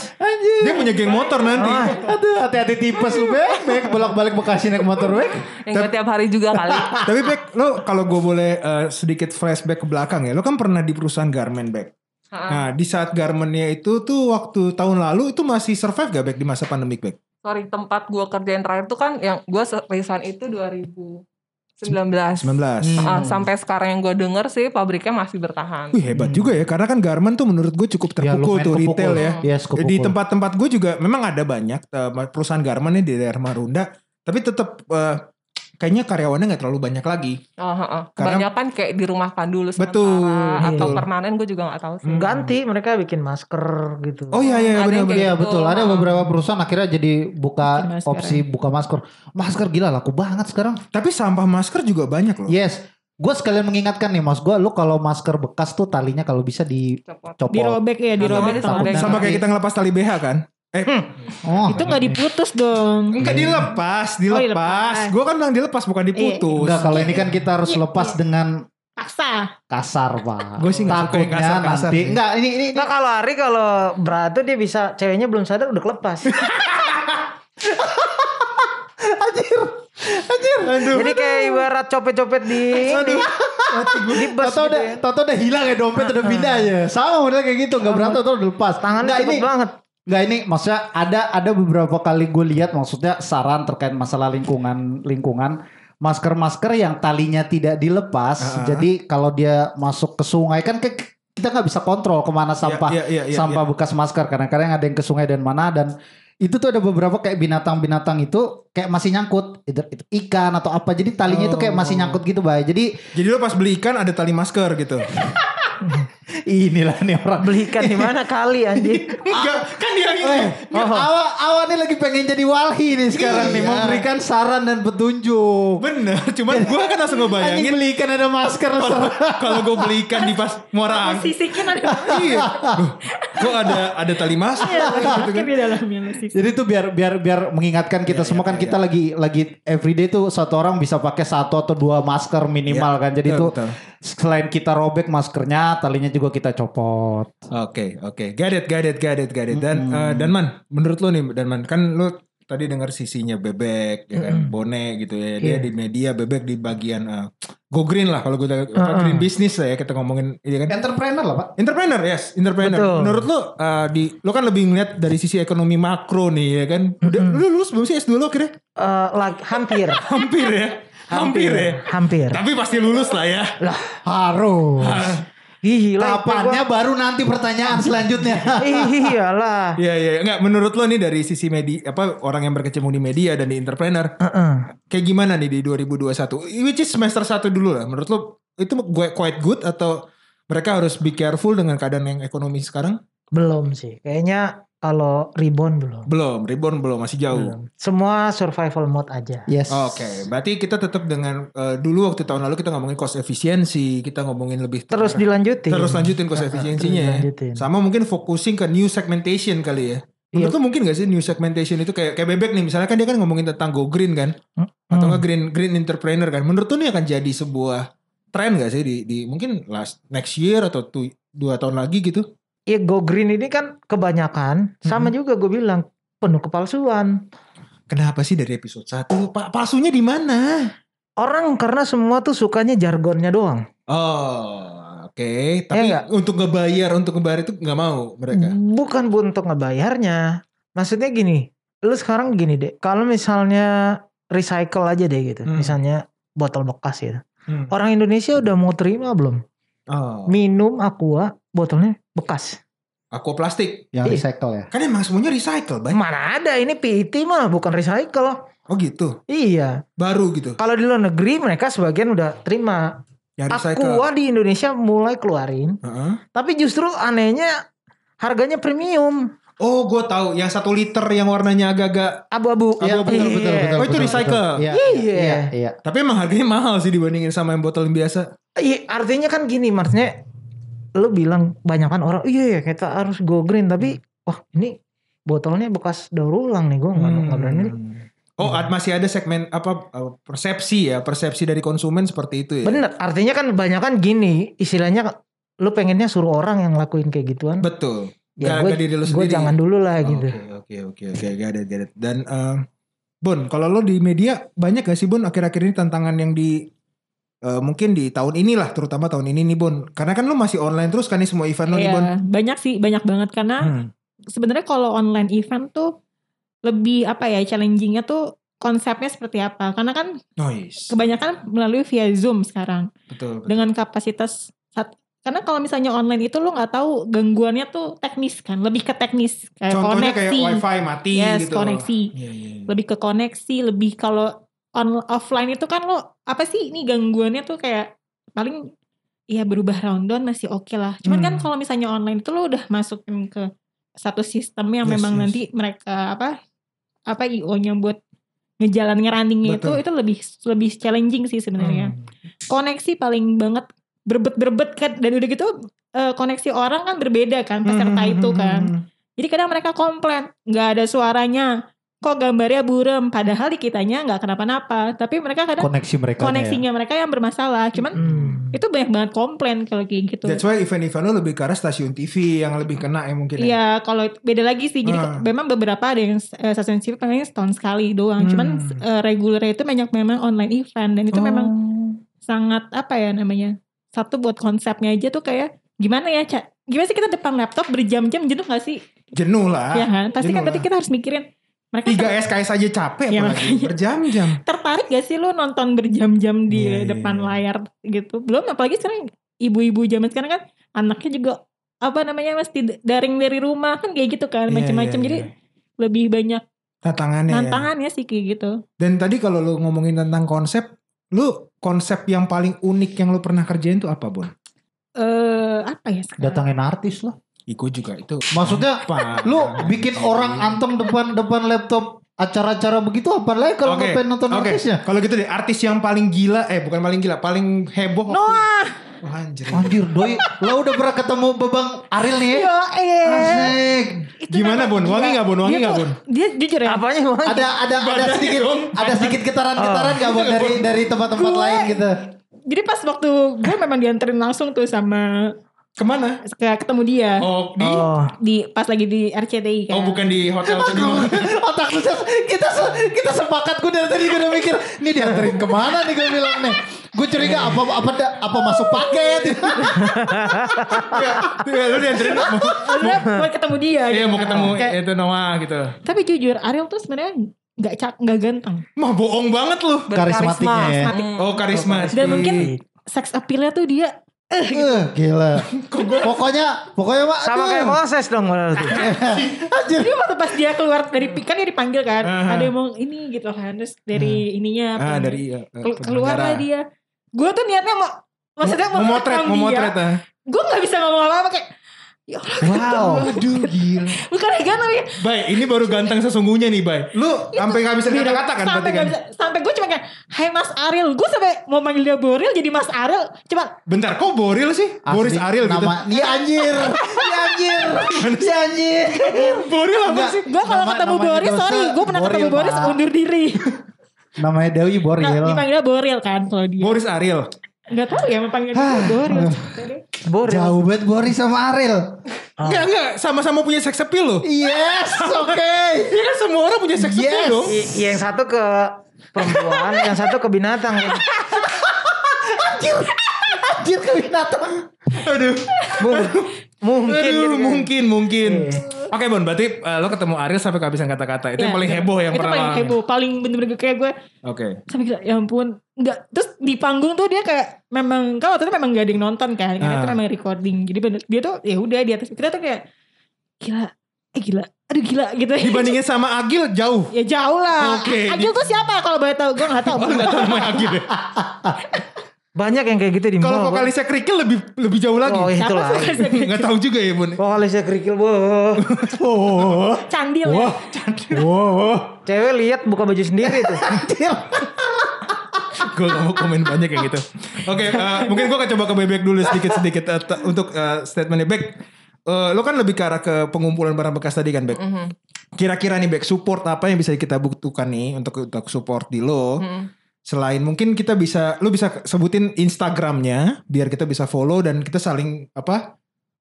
[SPEAKER 1] Dia punya geng motor nanti.
[SPEAKER 2] Ah. Aduh hati-hati tipes lu bek bek bolak-balik Bekasi naik motor bek.
[SPEAKER 5] Yang gua tiap hari juga kali.
[SPEAKER 1] Tapi Bek, lo kalau gue boleh eh, sedikit flashback ke belakang ya. Lo kan pernah di perusahaan garment, Bek.
[SPEAKER 5] Ha-ha.
[SPEAKER 1] Nah, di saat garmentnya itu tuh waktu tahun lalu itu masih survive gak, Bek, di masa pandemik, Bek?
[SPEAKER 5] Sorry, tempat gua kerjain terakhir tuh kan yang gua se- resign itu
[SPEAKER 1] 19.
[SPEAKER 5] 2019.
[SPEAKER 2] Hmm.
[SPEAKER 5] Ah, sampai sekarang yang gua denger sih pabriknya masih bertahan.
[SPEAKER 1] Wih hebat juga ya karena kan garment tuh menurut gue cukup terpukul
[SPEAKER 2] Hmm. Ya, lumayan Iya,
[SPEAKER 1] tuh
[SPEAKER 2] kepukul.
[SPEAKER 1] retail ya.
[SPEAKER 2] Yes, kepukul.
[SPEAKER 1] Di tempat-tempat gue juga memang ada banyak eh, perusahaan garment nih di daerah Marunda, tapi tetap eh, kayaknya karyawannya nggak terlalu banyak lagi.
[SPEAKER 5] Ah, ah, ah.
[SPEAKER 1] Karena-
[SPEAKER 5] Kebanyakan kayak dirumahkan dulu sementara
[SPEAKER 1] Betul, Hmm.
[SPEAKER 5] atau
[SPEAKER 1] betul.
[SPEAKER 5] permanen gue juga nggak tahu sih.
[SPEAKER 3] Ganti mereka bikin masker gitu.
[SPEAKER 1] Oh iya iya
[SPEAKER 5] Ada yang
[SPEAKER 1] benar-benar.
[SPEAKER 5] kayak-
[SPEAKER 2] Iya
[SPEAKER 5] Gitu.
[SPEAKER 2] betul ada beberapa perusahaan akhirnya jadi
[SPEAKER 4] Bikin
[SPEAKER 2] buka
[SPEAKER 4] masker.
[SPEAKER 2] opsi buka masker. Masker gila laku banget sekarang.
[SPEAKER 1] Tapi sampah masker juga banyak loh.
[SPEAKER 2] Yes. Gue sekalian mengingatkan nih mas gue lu kalau masker bekas tuh talinya kalau bisa
[SPEAKER 5] Copot.
[SPEAKER 2] dicopot.
[SPEAKER 4] Dirobek ya, dirobek.
[SPEAKER 5] Dirobek.
[SPEAKER 4] tangan.
[SPEAKER 1] Sama kayak kita ngelepas tali BH kan?
[SPEAKER 2] Oh,
[SPEAKER 4] Itu nggak diputus dong.
[SPEAKER 1] Enggak
[SPEAKER 2] Hmm.
[SPEAKER 1] dilepas, dilepas.
[SPEAKER 4] dilepas.
[SPEAKER 1] Gue kan bilang dilepas bukan diputus.
[SPEAKER 2] iya, Enggak kalau ini kan kita harus lepas dengan
[SPEAKER 4] Paksa.
[SPEAKER 2] kasar pak.
[SPEAKER 1] Gua sih nggak suka yang
[SPEAKER 2] Takutnya
[SPEAKER 1] kasar-kasar
[SPEAKER 2] nanti
[SPEAKER 1] sih.
[SPEAKER 2] enggak ini ini
[SPEAKER 3] Nah kalau Ari kalau beratur dia bisa ceweknya belum sadar udah kelepas. Jadi kayak ibarat copet-copet di ini, di bus
[SPEAKER 2] Toto
[SPEAKER 3] gitu
[SPEAKER 2] udah
[SPEAKER 3] ya.
[SPEAKER 2] Toto udah hilang ya dompet udah pindah aja. Sama model kayak gitu nggak berantem Toto udah lepas.
[SPEAKER 3] Tangannya
[SPEAKER 2] Nggak, Nah,
[SPEAKER 3] cepet
[SPEAKER 2] ini
[SPEAKER 3] banget.
[SPEAKER 2] Enggak ini maksudnya ada ada beberapa kali gue lihat maksudnya saran terkait masalah lingkungan lingkungan masker-masker yang talinya tidak dilepas
[SPEAKER 1] Ah, ah.
[SPEAKER 2] jadi kalau dia masuk ke sungai kan ke- kita nggak bisa kontrol kemana sampah
[SPEAKER 1] Iya, iya, iya,
[SPEAKER 2] sampah bekas masker kadang-kadang ada yang ke sungai dan mana dan itu tuh ada beberapa kayak binatang-binatang itu kayak masih nyangkut either itu ikan atau apa jadi talinya itu
[SPEAKER 1] Oh.
[SPEAKER 2] kayak masih nyangkut gitu bay jadi
[SPEAKER 1] iya. Jadi lo pas beli ikan ada tali masker
[SPEAKER 2] <laughs>
[SPEAKER 1] gitu.
[SPEAKER 2] inilah nih orang
[SPEAKER 3] Beli ikan di mana kali anjing.
[SPEAKER 1] <laughs> Enggak, kan dia gitu.
[SPEAKER 2] <laughs> Eh, awak awak nih lagi pengen jadi walhi nih sekarang nih
[SPEAKER 1] Iya.
[SPEAKER 2] memberikan saran dan petunjuk.
[SPEAKER 1] Bener, cuman gue kan langsung
[SPEAKER 2] Anjing
[SPEAKER 1] ngebayangin
[SPEAKER 2] beli ikan ada
[SPEAKER 1] <laughs>
[SPEAKER 2] masker
[SPEAKER 1] kalau gue beli ikan di
[SPEAKER 2] <laughs>
[SPEAKER 1] pas Muara Angke.
[SPEAKER 4] Sisikin ada
[SPEAKER 1] Iya. Gue ada ada tali
[SPEAKER 2] Iya,
[SPEAKER 1] masker. gitu kan.
[SPEAKER 4] Sisikin di dalamnya lo sisik.
[SPEAKER 2] Jadi itu biar biar biar mengingatkan kita semua kan kita lagi lagi everyday tuh satu orang bisa pakai satu atau dua masker minimal
[SPEAKER 1] Iya,
[SPEAKER 2] kan. Jadi
[SPEAKER 1] betul,
[SPEAKER 2] tuh
[SPEAKER 1] betul.
[SPEAKER 2] selain kita robek maskernya, talinya juga kita copot.
[SPEAKER 1] Oke, oke. Got it, got it, got it, got it. Dan eh, dan man, menurut lo nih dan man, kan lo tadi dengar sisinya bebek ya kan, bone gitu ya. Dia di media bebek di bagian eh, go green lah kalau gue green business lah ya kita ngomongin ya kan.
[SPEAKER 2] Entrepreneur lah, Pak.
[SPEAKER 1] Entrepreneur, yes, entrepreneur.
[SPEAKER 3] Betul.
[SPEAKER 1] Menurut lo eh, di lo kan lebih ngeliat dari sisi ekonomi makro nih ya kan. Udah lu lulus belum sih S2 lo akhirnya?
[SPEAKER 3] <laughs> Eh, lag- hampir.
[SPEAKER 1] Hampir ya. Hampir ya.
[SPEAKER 3] Hampir.
[SPEAKER 1] Tapi pasti lulus lah ya.
[SPEAKER 2] Harus.
[SPEAKER 3] Gila. itu
[SPEAKER 2] Kapannya baru nanti pertanyaan selanjutnya.
[SPEAKER 3] gua- Iyalah.
[SPEAKER 1] Iya iya enggak menurut lo nih dari sisi media apa orang yang berkecimpung di media dan di entrepreneur
[SPEAKER 3] Heeh.
[SPEAKER 1] kayak gimana nih di 2021 which is semester 1 dulu lah menurut lo itu gue quite good atau mereka harus be careful dengan keadaan yang ekonomi sekarang
[SPEAKER 3] Belum sih. Kayaknya kalau rebound belum.
[SPEAKER 1] belum reborn belum masih jauh
[SPEAKER 3] Belum. Semua survival mode
[SPEAKER 2] <laughs>
[SPEAKER 3] aja.
[SPEAKER 2] Yes.
[SPEAKER 1] Iya. oke berarti kita tetap dengan eh, dulu waktu tahun lalu kita ngomongin cost efficiency kita ngomongin lebih
[SPEAKER 3] Terus dilanjutin.
[SPEAKER 1] Nah, terus lanjutin cost
[SPEAKER 3] Ah, ah,
[SPEAKER 1] efisiensinya
[SPEAKER 3] terus
[SPEAKER 1] ya.
[SPEAKER 3] dilanjutin.
[SPEAKER 1] sama mungkin focusing ke new segmentation kali ya menurut lo mungkin gak sih new segmentation itu kayak kayak bebek nih misalnya kan dia kan ngomongin tentang go green kan
[SPEAKER 3] Hmm.
[SPEAKER 1] atau nggak green green entrepreneur kan menurut tuh ini akan jadi sebuah tren gak sih di, di mungkin last next year atau tu- dua tahun lagi gitu
[SPEAKER 3] Iya go green ini kan kebanyakan sama juga gue bilang penuh kepalsuan.
[SPEAKER 1] kenapa sih dari episode 1 pak palsunya di mana
[SPEAKER 3] Orang karena semua tuh sukanya jargonnya doang.
[SPEAKER 1] oh oke tapi
[SPEAKER 3] nggak?
[SPEAKER 1] untuk ngebayar untuk ngebayar itu nggak mau mereka
[SPEAKER 3] Bukan bu untuk ngebayarnya. Maksudnya gini, lu sekarang gini deh. Kalau misalnya recycle aja deh gitu.
[SPEAKER 1] Hmm.
[SPEAKER 3] Misalnya botol bekas gitu.
[SPEAKER 1] Hmm.
[SPEAKER 3] Orang Indonesia udah mau terima belum?
[SPEAKER 1] oh
[SPEAKER 3] Minum aqua botolnya bekas.
[SPEAKER 1] aku plastik
[SPEAKER 2] Yang recycle ya.
[SPEAKER 1] kan emang semuanya recycle banyak
[SPEAKER 3] Mana ada ini PET mah bukan recycle.
[SPEAKER 1] oh gitu
[SPEAKER 3] Iya.
[SPEAKER 1] baru gitu
[SPEAKER 3] Kalau di luar negeri mereka sebagian udah terima.
[SPEAKER 1] yang recycle
[SPEAKER 3] Aqua di Indonesia mulai keluarin.
[SPEAKER 1] Heeh.
[SPEAKER 3] Tapi justru anehnya harganya premium.
[SPEAKER 1] oh gue tahu yang satu liter yang warnanya agak-agak
[SPEAKER 3] Abu-abu.
[SPEAKER 1] Iya, betul, betul,
[SPEAKER 3] Iya.
[SPEAKER 1] betul. Oh, itu recycle.
[SPEAKER 2] Iya.
[SPEAKER 3] Iya.
[SPEAKER 2] Iya. Iya.
[SPEAKER 1] tapi emang harganya mahal sih dibandingin sama yang botol yang biasa
[SPEAKER 3] Iya, artinya kan gini, maksudnya lu bilang banyak kan orang, iya ya kita harus go green, tapi wah ini botolnya bekas daur ulang nih, gue nggak nggak berani.
[SPEAKER 2] Hmm.
[SPEAKER 3] nih.
[SPEAKER 1] Oh, ad- masih ada segmen apa eh, persepsi ya, persepsi dari konsumen seperti
[SPEAKER 2] Iya.
[SPEAKER 1] itu ya.
[SPEAKER 3] Bener, artinya kan banyak kan gini, istilahnya lu pengennya suruh orang yang lakuin kayak gituan.
[SPEAKER 1] Betul.
[SPEAKER 3] Ya
[SPEAKER 1] Gak-
[SPEAKER 3] gue
[SPEAKER 1] gak diri lu
[SPEAKER 3] gue
[SPEAKER 1] sendiri.
[SPEAKER 3] jangan dulu
[SPEAKER 2] Oh,
[SPEAKER 3] lah gitu.
[SPEAKER 1] Oke, oke, oke, oke, gak ada, gak ada. Dan eh, Bon, kalau lo di media banyak gak sih Bon akhir-akhir ini tantangan yang di eh, mungkin di tahun inilah, terutama tahun ini nih Bon. Karena kan lo masih online terus kan nih semua event lo nih Bon.
[SPEAKER 4] Iya, banyak sih, banyak banget karena
[SPEAKER 1] Hmm.
[SPEAKER 4] sebenarnya kalau online event tuh lebih apa ya challengingnya tuh konsepnya seperti apa karena kan
[SPEAKER 1] Noise.
[SPEAKER 4] kebanyakan melalui via zoom sekarang
[SPEAKER 1] Betul. betul.
[SPEAKER 4] dengan kapasitas sat- karena kalau misalnya online itu lo nggak tahu gangguannya tuh teknis kan lebih ke teknis kayak
[SPEAKER 1] Contohnya
[SPEAKER 4] koneksi
[SPEAKER 1] kayak wifi mati
[SPEAKER 4] yes
[SPEAKER 1] gitu.
[SPEAKER 4] koneksi
[SPEAKER 1] Iya, iya. iya.
[SPEAKER 4] lebih ke koneksi lebih kalau on offline itu kan lo apa sih ini gangguannya tuh kayak paling ya berubah round down masih oke lah cuman kan
[SPEAKER 1] Hmm.
[SPEAKER 4] kalau misalnya online itu lo udah masukin ke satu sistem yang
[SPEAKER 1] Yes,
[SPEAKER 4] memang
[SPEAKER 1] yes.
[SPEAKER 4] nanti mereka apa apa io nya buat ngejalanin runningnya itu
[SPEAKER 1] Betul.
[SPEAKER 4] itu lebih lebih challenging sih sebenarnya
[SPEAKER 1] Hmm.
[SPEAKER 4] koneksi paling banget
[SPEAKER 1] Hmm,
[SPEAKER 4] berbet berbet kan dan udah gitu eh, koneksi orang kan berbeda kan peserta itu kan Jadi kadang mereka komplain, nggak ada suaranya. Kok gambarnya burem? Padahal di kitanya nggak kenapa-napa. Tapi mereka kadang
[SPEAKER 2] koneksi
[SPEAKER 1] ya.
[SPEAKER 2] mereka
[SPEAKER 4] koneksinya mereka yang bermasalah. Cuman
[SPEAKER 3] Hmm.
[SPEAKER 4] itu banyak banget komplain kalau kayak gitu.
[SPEAKER 1] That's why event-event lu lebih ke arah stasiun TV yang lebih kena ya mungkin. ya.
[SPEAKER 4] Iya, kalau itu- beda lagi sih. Jadi
[SPEAKER 1] Ah.
[SPEAKER 4] memang beberapa ada yang eh, stasiun TV pengennya setahun sekali doang. Cuman
[SPEAKER 1] Hmm. Oh.
[SPEAKER 4] eh, regulernya itu banyak memang online event dan itu memang
[SPEAKER 2] Oh.
[SPEAKER 4] sangat apa ya namanya? Satu buat konsepnya aja tuh kayak gimana ya, Ca? Gimana sih kita depan laptop berjam-jam jenuh gak sih?
[SPEAKER 1] Jenuh lah.
[SPEAKER 4] ya kan? Pasti
[SPEAKER 1] Ah, jenuh
[SPEAKER 4] kan tadi
[SPEAKER 1] lah.
[SPEAKER 4] kita harus mikirin mereka
[SPEAKER 1] Tiga
[SPEAKER 4] ter-
[SPEAKER 1] SKS aja capek
[SPEAKER 4] Iya,
[SPEAKER 1] apalagi berjam-jam.
[SPEAKER 4] tertarik gak sih lu nonton berjam-jam di
[SPEAKER 1] Iya, iya,
[SPEAKER 4] depan
[SPEAKER 1] iya.
[SPEAKER 4] layar gitu? Belum apalagi sekarang ibu-ibu zaman sekarang kan anaknya juga apa namanya mesti daring dari rumah kan kayak gitu kan
[SPEAKER 1] Iya,
[SPEAKER 4] macam-macam.
[SPEAKER 1] iya,
[SPEAKER 4] Jadi
[SPEAKER 1] iya.
[SPEAKER 4] lebih banyak
[SPEAKER 1] tantangannya. ya.
[SPEAKER 4] tantangannya sih kayak gitu.
[SPEAKER 1] Dan tadi kalau lu ngomongin tentang konsep, lu konsep yang paling unik yang lu pernah kerjain tuh apa, Bon?
[SPEAKER 4] Eh apa ya sekarang?
[SPEAKER 2] datangin artis lah
[SPEAKER 1] Iku juga <laughs> itu.
[SPEAKER 2] maksudnya
[SPEAKER 1] Apa?
[SPEAKER 2] lu bikin orang antem depan depan laptop acara-acara begitu apa lagi kalau
[SPEAKER 1] Oke,
[SPEAKER 2] nggak pengen nonton
[SPEAKER 1] oke.
[SPEAKER 2] artisnya
[SPEAKER 1] Kalau gitu deh, artis yang paling gila, eh bukan paling gila, paling heboh. waktu-
[SPEAKER 4] Noah.
[SPEAKER 1] Wah, anjir.
[SPEAKER 2] anjir doi lo udah pernah ketemu bebang Aril nih ya?
[SPEAKER 4] Yo, eh.
[SPEAKER 2] asik
[SPEAKER 4] Itu
[SPEAKER 1] Gimana,
[SPEAKER 4] namanya
[SPEAKER 1] Bon?
[SPEAKER 4] gila.
[SPEAKER 1] Wangi nggak, Bon? Wangi
[SPEAKER 4] Dia
[SPEAKER 1] nggak,
[SPEAKER 4] tuh-
[SPEAKER 1] Bon?
[SPEAKER 4] Dia jujur ya.
[SPEAKER 3] <laughs> Apanya bang?
[SPEAKER 2] ada ada ada
[SPEAKER 1] Badannya
[SPEAKER 2] sedikit
[SPEAKER 1] dong. Ah.
[SPEAKER 2] ada sedikit getaran-getaran nggak Bon, dari dari tempat-tempat
[SPEAKER 4] Gue-
[SPEAKER 2] lain gitu
[SPEAKER 4] Jadi pas waktu gue memang dianterin langsung tuh sama
[SPEAKER 1] Kemana?
[SPEAKER 4] kayak ketemu dia
[SPEAKER 1] Oh, di
[SPEAKER 3] Oh.
[SPEAKER 4] di pas lagi di RCTI kan.
[SPEAKER 1] Oh, bukan di hotel tadi.
[SPEAKER 2] otak lu ses- kita se- kita sepakat gue dari tadi gue udah mikir ini dianterin kemana nih gue bilang nih gue curiga apa apa da- apa masuk paket
[SPEAKER 1] Iya, <laughs> lu dianterin mau, <laughs>
[SPEAKER 4] Maksudnya buat ketemu dia.
[SPEAKER 1] iya,
[SPEAKER 4] gitu.
[SPEAKER 1] mau ketemu
[SPEAKER 4] Kayak-
[SPEAKER 1] itu Noah gitu.
[SPEAKER 4] tapi jujur Ariel tuh sebenarnya nggak cak nggak ganteng
[SPEAKER 1] Mah bohong banget lu.
[SPEAKER 2] Karismatiknya ya.
[SPEAKER 5] Hmm.
[SPEAKER 1] Oh, karisma.
[SPEAKER 4] dan mungkin seks appeal-nya tuh dia
[SPEAKER 1] Gitu.
[SPEAKER 2] Eh, gila pokoknya pokoknya Hmm. mak aduh.
[SPEAKER 3] Sama kayak Moses dong berarti.
[SPEAKER 1] Iya.
[SPEAKER 4] dia waktu pas dia keluar dari kan dia dipanggil kan
[SPEAKER 1] Aha.
[SPEAKER 4] ada yang mau ini gitu kan terus dari ininya
[SPEAKER 1] ah
[SPEAKER 4] pem-
[SPEAKER 1] dari eh, eh,
[SPEAKER 4] Kelu- keluar lah
[SPEAKER 1] penyelenggara.
[SPEAKER 4] dia gue tuh niatnya mau maksudnya mau
[SPEAKER 1] memotret,
[SPEAKER 4] merekam
[SPEAKER 1] memotret
[SPEAKER 4] dia
[SPEAKER 1] ah.
[SPEAKER 4] gue nggak bisa ngomong apa-apa kayak ya Allah
[SPEAKER 2] wow
[SPEAKER 1] Aduh, gila.
[SPEAKER 4] <laughs> bukan kan tapi
[SPEAKER 1] Bay, ini baru ganteng sesungguhnya nih, Bay. Lu sampai nggak bisa kata-kata kan
[SPEAKER 4] sampai
[SPEAKER 1] berarti
[SPEAKER 4] nggak
[SPEAKER 1] kan?
[SPEAKER 4] bisa sampai gue cuma kayak Hai Mas Ariel gue sampai mau manggil dia Boril jadi Mas Ariel cuma
[SPEAKER 1] Bentar, kok Boril sih? Boris
[SPEAKER 2] Asli,
[SPEAKER 1] Ariel gitu.
[SPEAKER 2] nama iya anjir iya anjir iya anjir
[SPEAKER 1] Boril apa
[SPEAKER 2] Enggak.
[SPEAKER 1] sih?
[SPEAKER 4] gue kalau
[SPEAKER 2] Nama-
[SPEAKER 4] ketemu
[SPEAKER 2] namanya
[SPEAKER 4] Boris
[SPEAKER 2] dosa
[SPEAKER 4] sorry gue pernah
[SPEAKER 2] Boril,
[SPEAKER 4] ketemu Boris
[SPEAKER 2] Pak.
[SPEAKER 4] undur diri
[SPEAKER 2] namanya Dewi iya
[SPEAKER 4] nah,
[SPEAKER 2] Boril
[SPEAKER 4] dipanggilnya Boril kan kalau dia
[SPEAKER 1] Boris Ariel.
[SPEAKER 4] nggak tahu ya panggil dia Boril
[SPEAKER 3] Boris.
[SPEAKER 2] jauh banget Boris sama Aril
[SPEAKER 1] Enggak, enggak, sama-sama punya sex appeal loh.
[SPEAKER 2] yes oke
[SPEAKER 1] Iya kan semua orang punya sex appeal
[SPEAKER 2] Yes.
[SPEAKER 1] dong.
[SPEAKER 3] I- yang satu ke perempuan, yang satu ke binatang.
[SPEAKER 2] anjir anjir ke binatang
[SPEAKER 1] Aduh.
[SPEAKER 3] Mung- mungkin
[SPEAKER 1] Aduh,
[SPEAKER 3] gitu kan.
[SPEAKER 1] mungkin, mungkin. Oke, Bon, berarti eh, lo ketemu Ariel sampai kehabisan kata-kata. Itu yang
[SPEAKER 4] Ya,
[SPEAKER 1] paling
[SPEAKER 4] bener.
[SPEAKER 1] heboh yang
[SPEAKER 4] itu
[SPEAKER 1] pernah.
[SPEAKER 4] paling
[SPEAKER 1] lo alami.
[SPEAKER 4] heboh paling bener-bener kayak gue
[SPEAKER 1] Oke.
[SPEAKER 4] sampai gila ya ampun nggak terus di panggung tuh dia kayak memang kan waktu itu memang gak ada yang nonton kan karena itu
[SPEAKER 1] Ah.
[SPEAKER 4] memang recording jadi bener dia tuh ya udah di atas kita tuh kayak gila eh gila aduh gila gitu
[SPEAKER 1] Dibandingin sama Agil jauh.
[SPEAKER 4] <laughs> ya jauh lah
[SPEAKER 1] Oke.
[SPEAKER 4] A- Agil tuh siapa kalau boleh tahu gue nggak
[SPEAKER 1] <laughs>
[SPEAKER 4] tahu
[SPEAKER 1] Oh, enggak tahu namanya Agil deh.
[SPEAKER 3] Banyak yang kayak gitu di
[SPEAKER 1] Kalau
[SPEAKER 3] mall.
[SPEAKER 1] vokalisnya kerikil lebih lebih jauh lagi.
[SPEAKER 3] Oh,
[SPEAKER 1] <laughs>
[SPEAKER 4] Siapa
[SPEAKER 3] itulah.
[SPEAKER 4] sih?
[SPEAKER 1] Enggak tahu juga ya, Bun.
[SPEAKER 3] Vokalisnya kerikil, boh.
[SPEAKER 1] Oh.
[SPEAKER 4] candil ya.
[SPEAKER 1] Wah, Wow.
[SPEAKER 3] Cewek lihat buka baju sendiri tuh.
[SPEAKER 1] Gue gak mau komen banyak kayak gitu. Oke, eh, mungkin gue akan coba ke Bebek dulu sedikit-sedikit eh, t- untuk eh, statementnya Bebek. Eh, lo kan lebih ke arah ke pengumpulan barang bekas tadi kan, Bek. Kira-kira nih, Bek, support apa yang bisa kita butuhkan nih untuk untuk support di lo? Selain mungkin kita bisa, lo bisa sebutin Instagramnya biar kita bisa follow dan kita saling apa?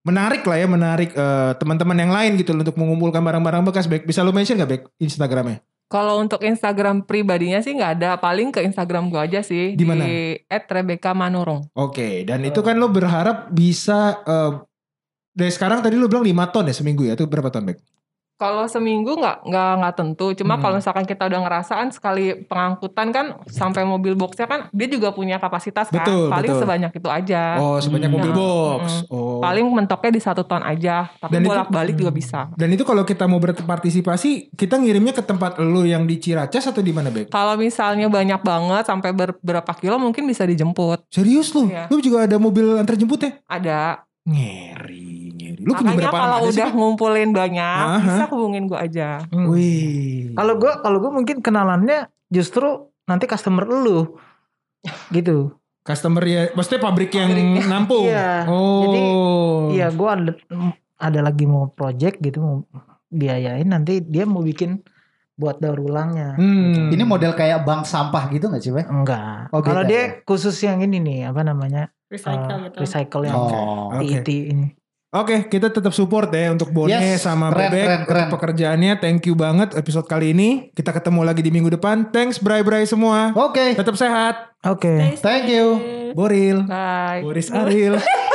[SPEAKER 1] Menarik lah ya, menarik eh, teman-teman yang lain gitu loh untuk mengumpulkan barang-barang bekas. Bek, bisa lo mention gak, Bek, Instagramnya?
[SPEAKER 5] Kalau untuk Instagram pribadinya sih nggak ada, paling ke Instagram gua aja sih
[SPEAKER 1] Di mana?
[SPEAKER 5] @rebecca manurung.
[SPEAKER 1] Oke, dan
[SPEAKER 5] Eh.
[SPEAKER 1] itu kan lo berharap bisa eh, dari sekarang tadi lo bilang 5 ton ya seminggu ya, itu berapa ton Bek?
[SPEAKER 5] Kalau seminggu nggak nggak nggak tentu. Cuma
[SPEAKER 1] Hmm.
[SPEAKER 5] kalau misalkan kita udah ngerasaan sekali pengangkutan kan sampai mobil boxnya kan dia juga punya kapasitas kan.
[SPEAKER 1] Betul,
[SPEAKER 5] paling
[SPEAKER 1] betul.
[SPEAKER 5] sebanyak itu aja.
[SPEAKER 1] Oh, sebanyak
[SPEAKER 5] Hmm.
[SPEAKER 1] mobil
[SPEAKER 5] Nah,
[SPEAKER 1] box. Oh.
[SPEAKER 5] Paling mentoknya di satu ton aja. Tapi
[SPEAKER 1] Dan itu- Hmm.
[SPEAKER 5] bolak-balik juga bisa.
[SPEAKER 1] Dan itu kalau kita mau berpartisipasi, kita ngirimnya ke tempat lo yang di Ciracas atau di mana Bek?
[SPEAKER 5] Kalau misalnya banyak banget sampai ber- berapa kilo mungkin bisa dijemput.
[SPEAKER 1] Serius lo?
[SPEAKER 5] Iya.
[SPEAKER 1] Lo juga ada mobil antar jemput ya?
[SPEAKER 5] Ada.
[SPEAKER 1] Ngeri, ngeri. Lo punya
[SPEAKER 5] Makanya
[SPEAKER 1] berapa
[SPEAKER 5] kalau
[SPEAKER 1] aja sih?
[SPEAKER 5] udah ngumpulin banyak
[SPEAKER 1] Aha.
[SPEAKER 5] bisa hubungin gua aja.
[SPEAKER 1] Wih.
[SPEAKER 3] Kalau gue kalau gue mungkin kenalannya justru nanti customer lu gitu.
[SPEAKER 1] customer ya, maksudnya pabrik yang nampung.
[SPEAKER 3] Iya.
[SPEAKER 1] Oh.
[SPEAKER 5] iya.
[SPEAKER 3] Iya, gue ada ada lagi mau project gitu mau biayain nanti dia mau bikin buat daur ulangnya.
[SPEAKER 1] Hmm.
[SPEAKER 2] Ini model kayak bank sampah gitu gak sih, Bang?
[SPEAKER 3] Enggak.
[SPEAKER 2] Oh, beda
[SPEAKER 3] Kalau
[SPEAKER 2] ya?
[SPEAKER 3] dia khusus yang ini nih apa namanya?
[SPEAKER 4] recycle
[SPEAKER 3] eh,
[SPEAKER 1] Ah,
[SPEAKER 4] gitu.
[SPEAKER 3] recycle yang
[SPEAKER 2] Oh.
[SPEAKER 1] Oke.
[SPEAKER 3] TIT ini.
[SPEAKER 1] Oke, kita tetap support ya untuk Bone
[SPEAKER 2] Yes,
[SPEAKER 1] sama
[SPEAKER 2] keren,
[SPEAKER 1] Bebek
[SPEAKER 2] keren,
[SPEAKER 1] untuk
[SPEAKER 2] keren.
[SPEAKER 1] pekerjaannya. Thank you banget episode kali ini. Kita ketemu lagi di minggu depan. Thanks bray-bray semua.
[SPEAKER 2] Oke.
[SPEAKER 1] Tetap sehat.
[SPEAKER 3] Oke.
[SPEAKER 4] Stay
[SPEAKER 2] Thank you.
[SPEAKER 4] safe.
[SPEAKER 1] Boril.
[SPEAKER 5] Bye.
[SPEAKER 1] Boris Aril.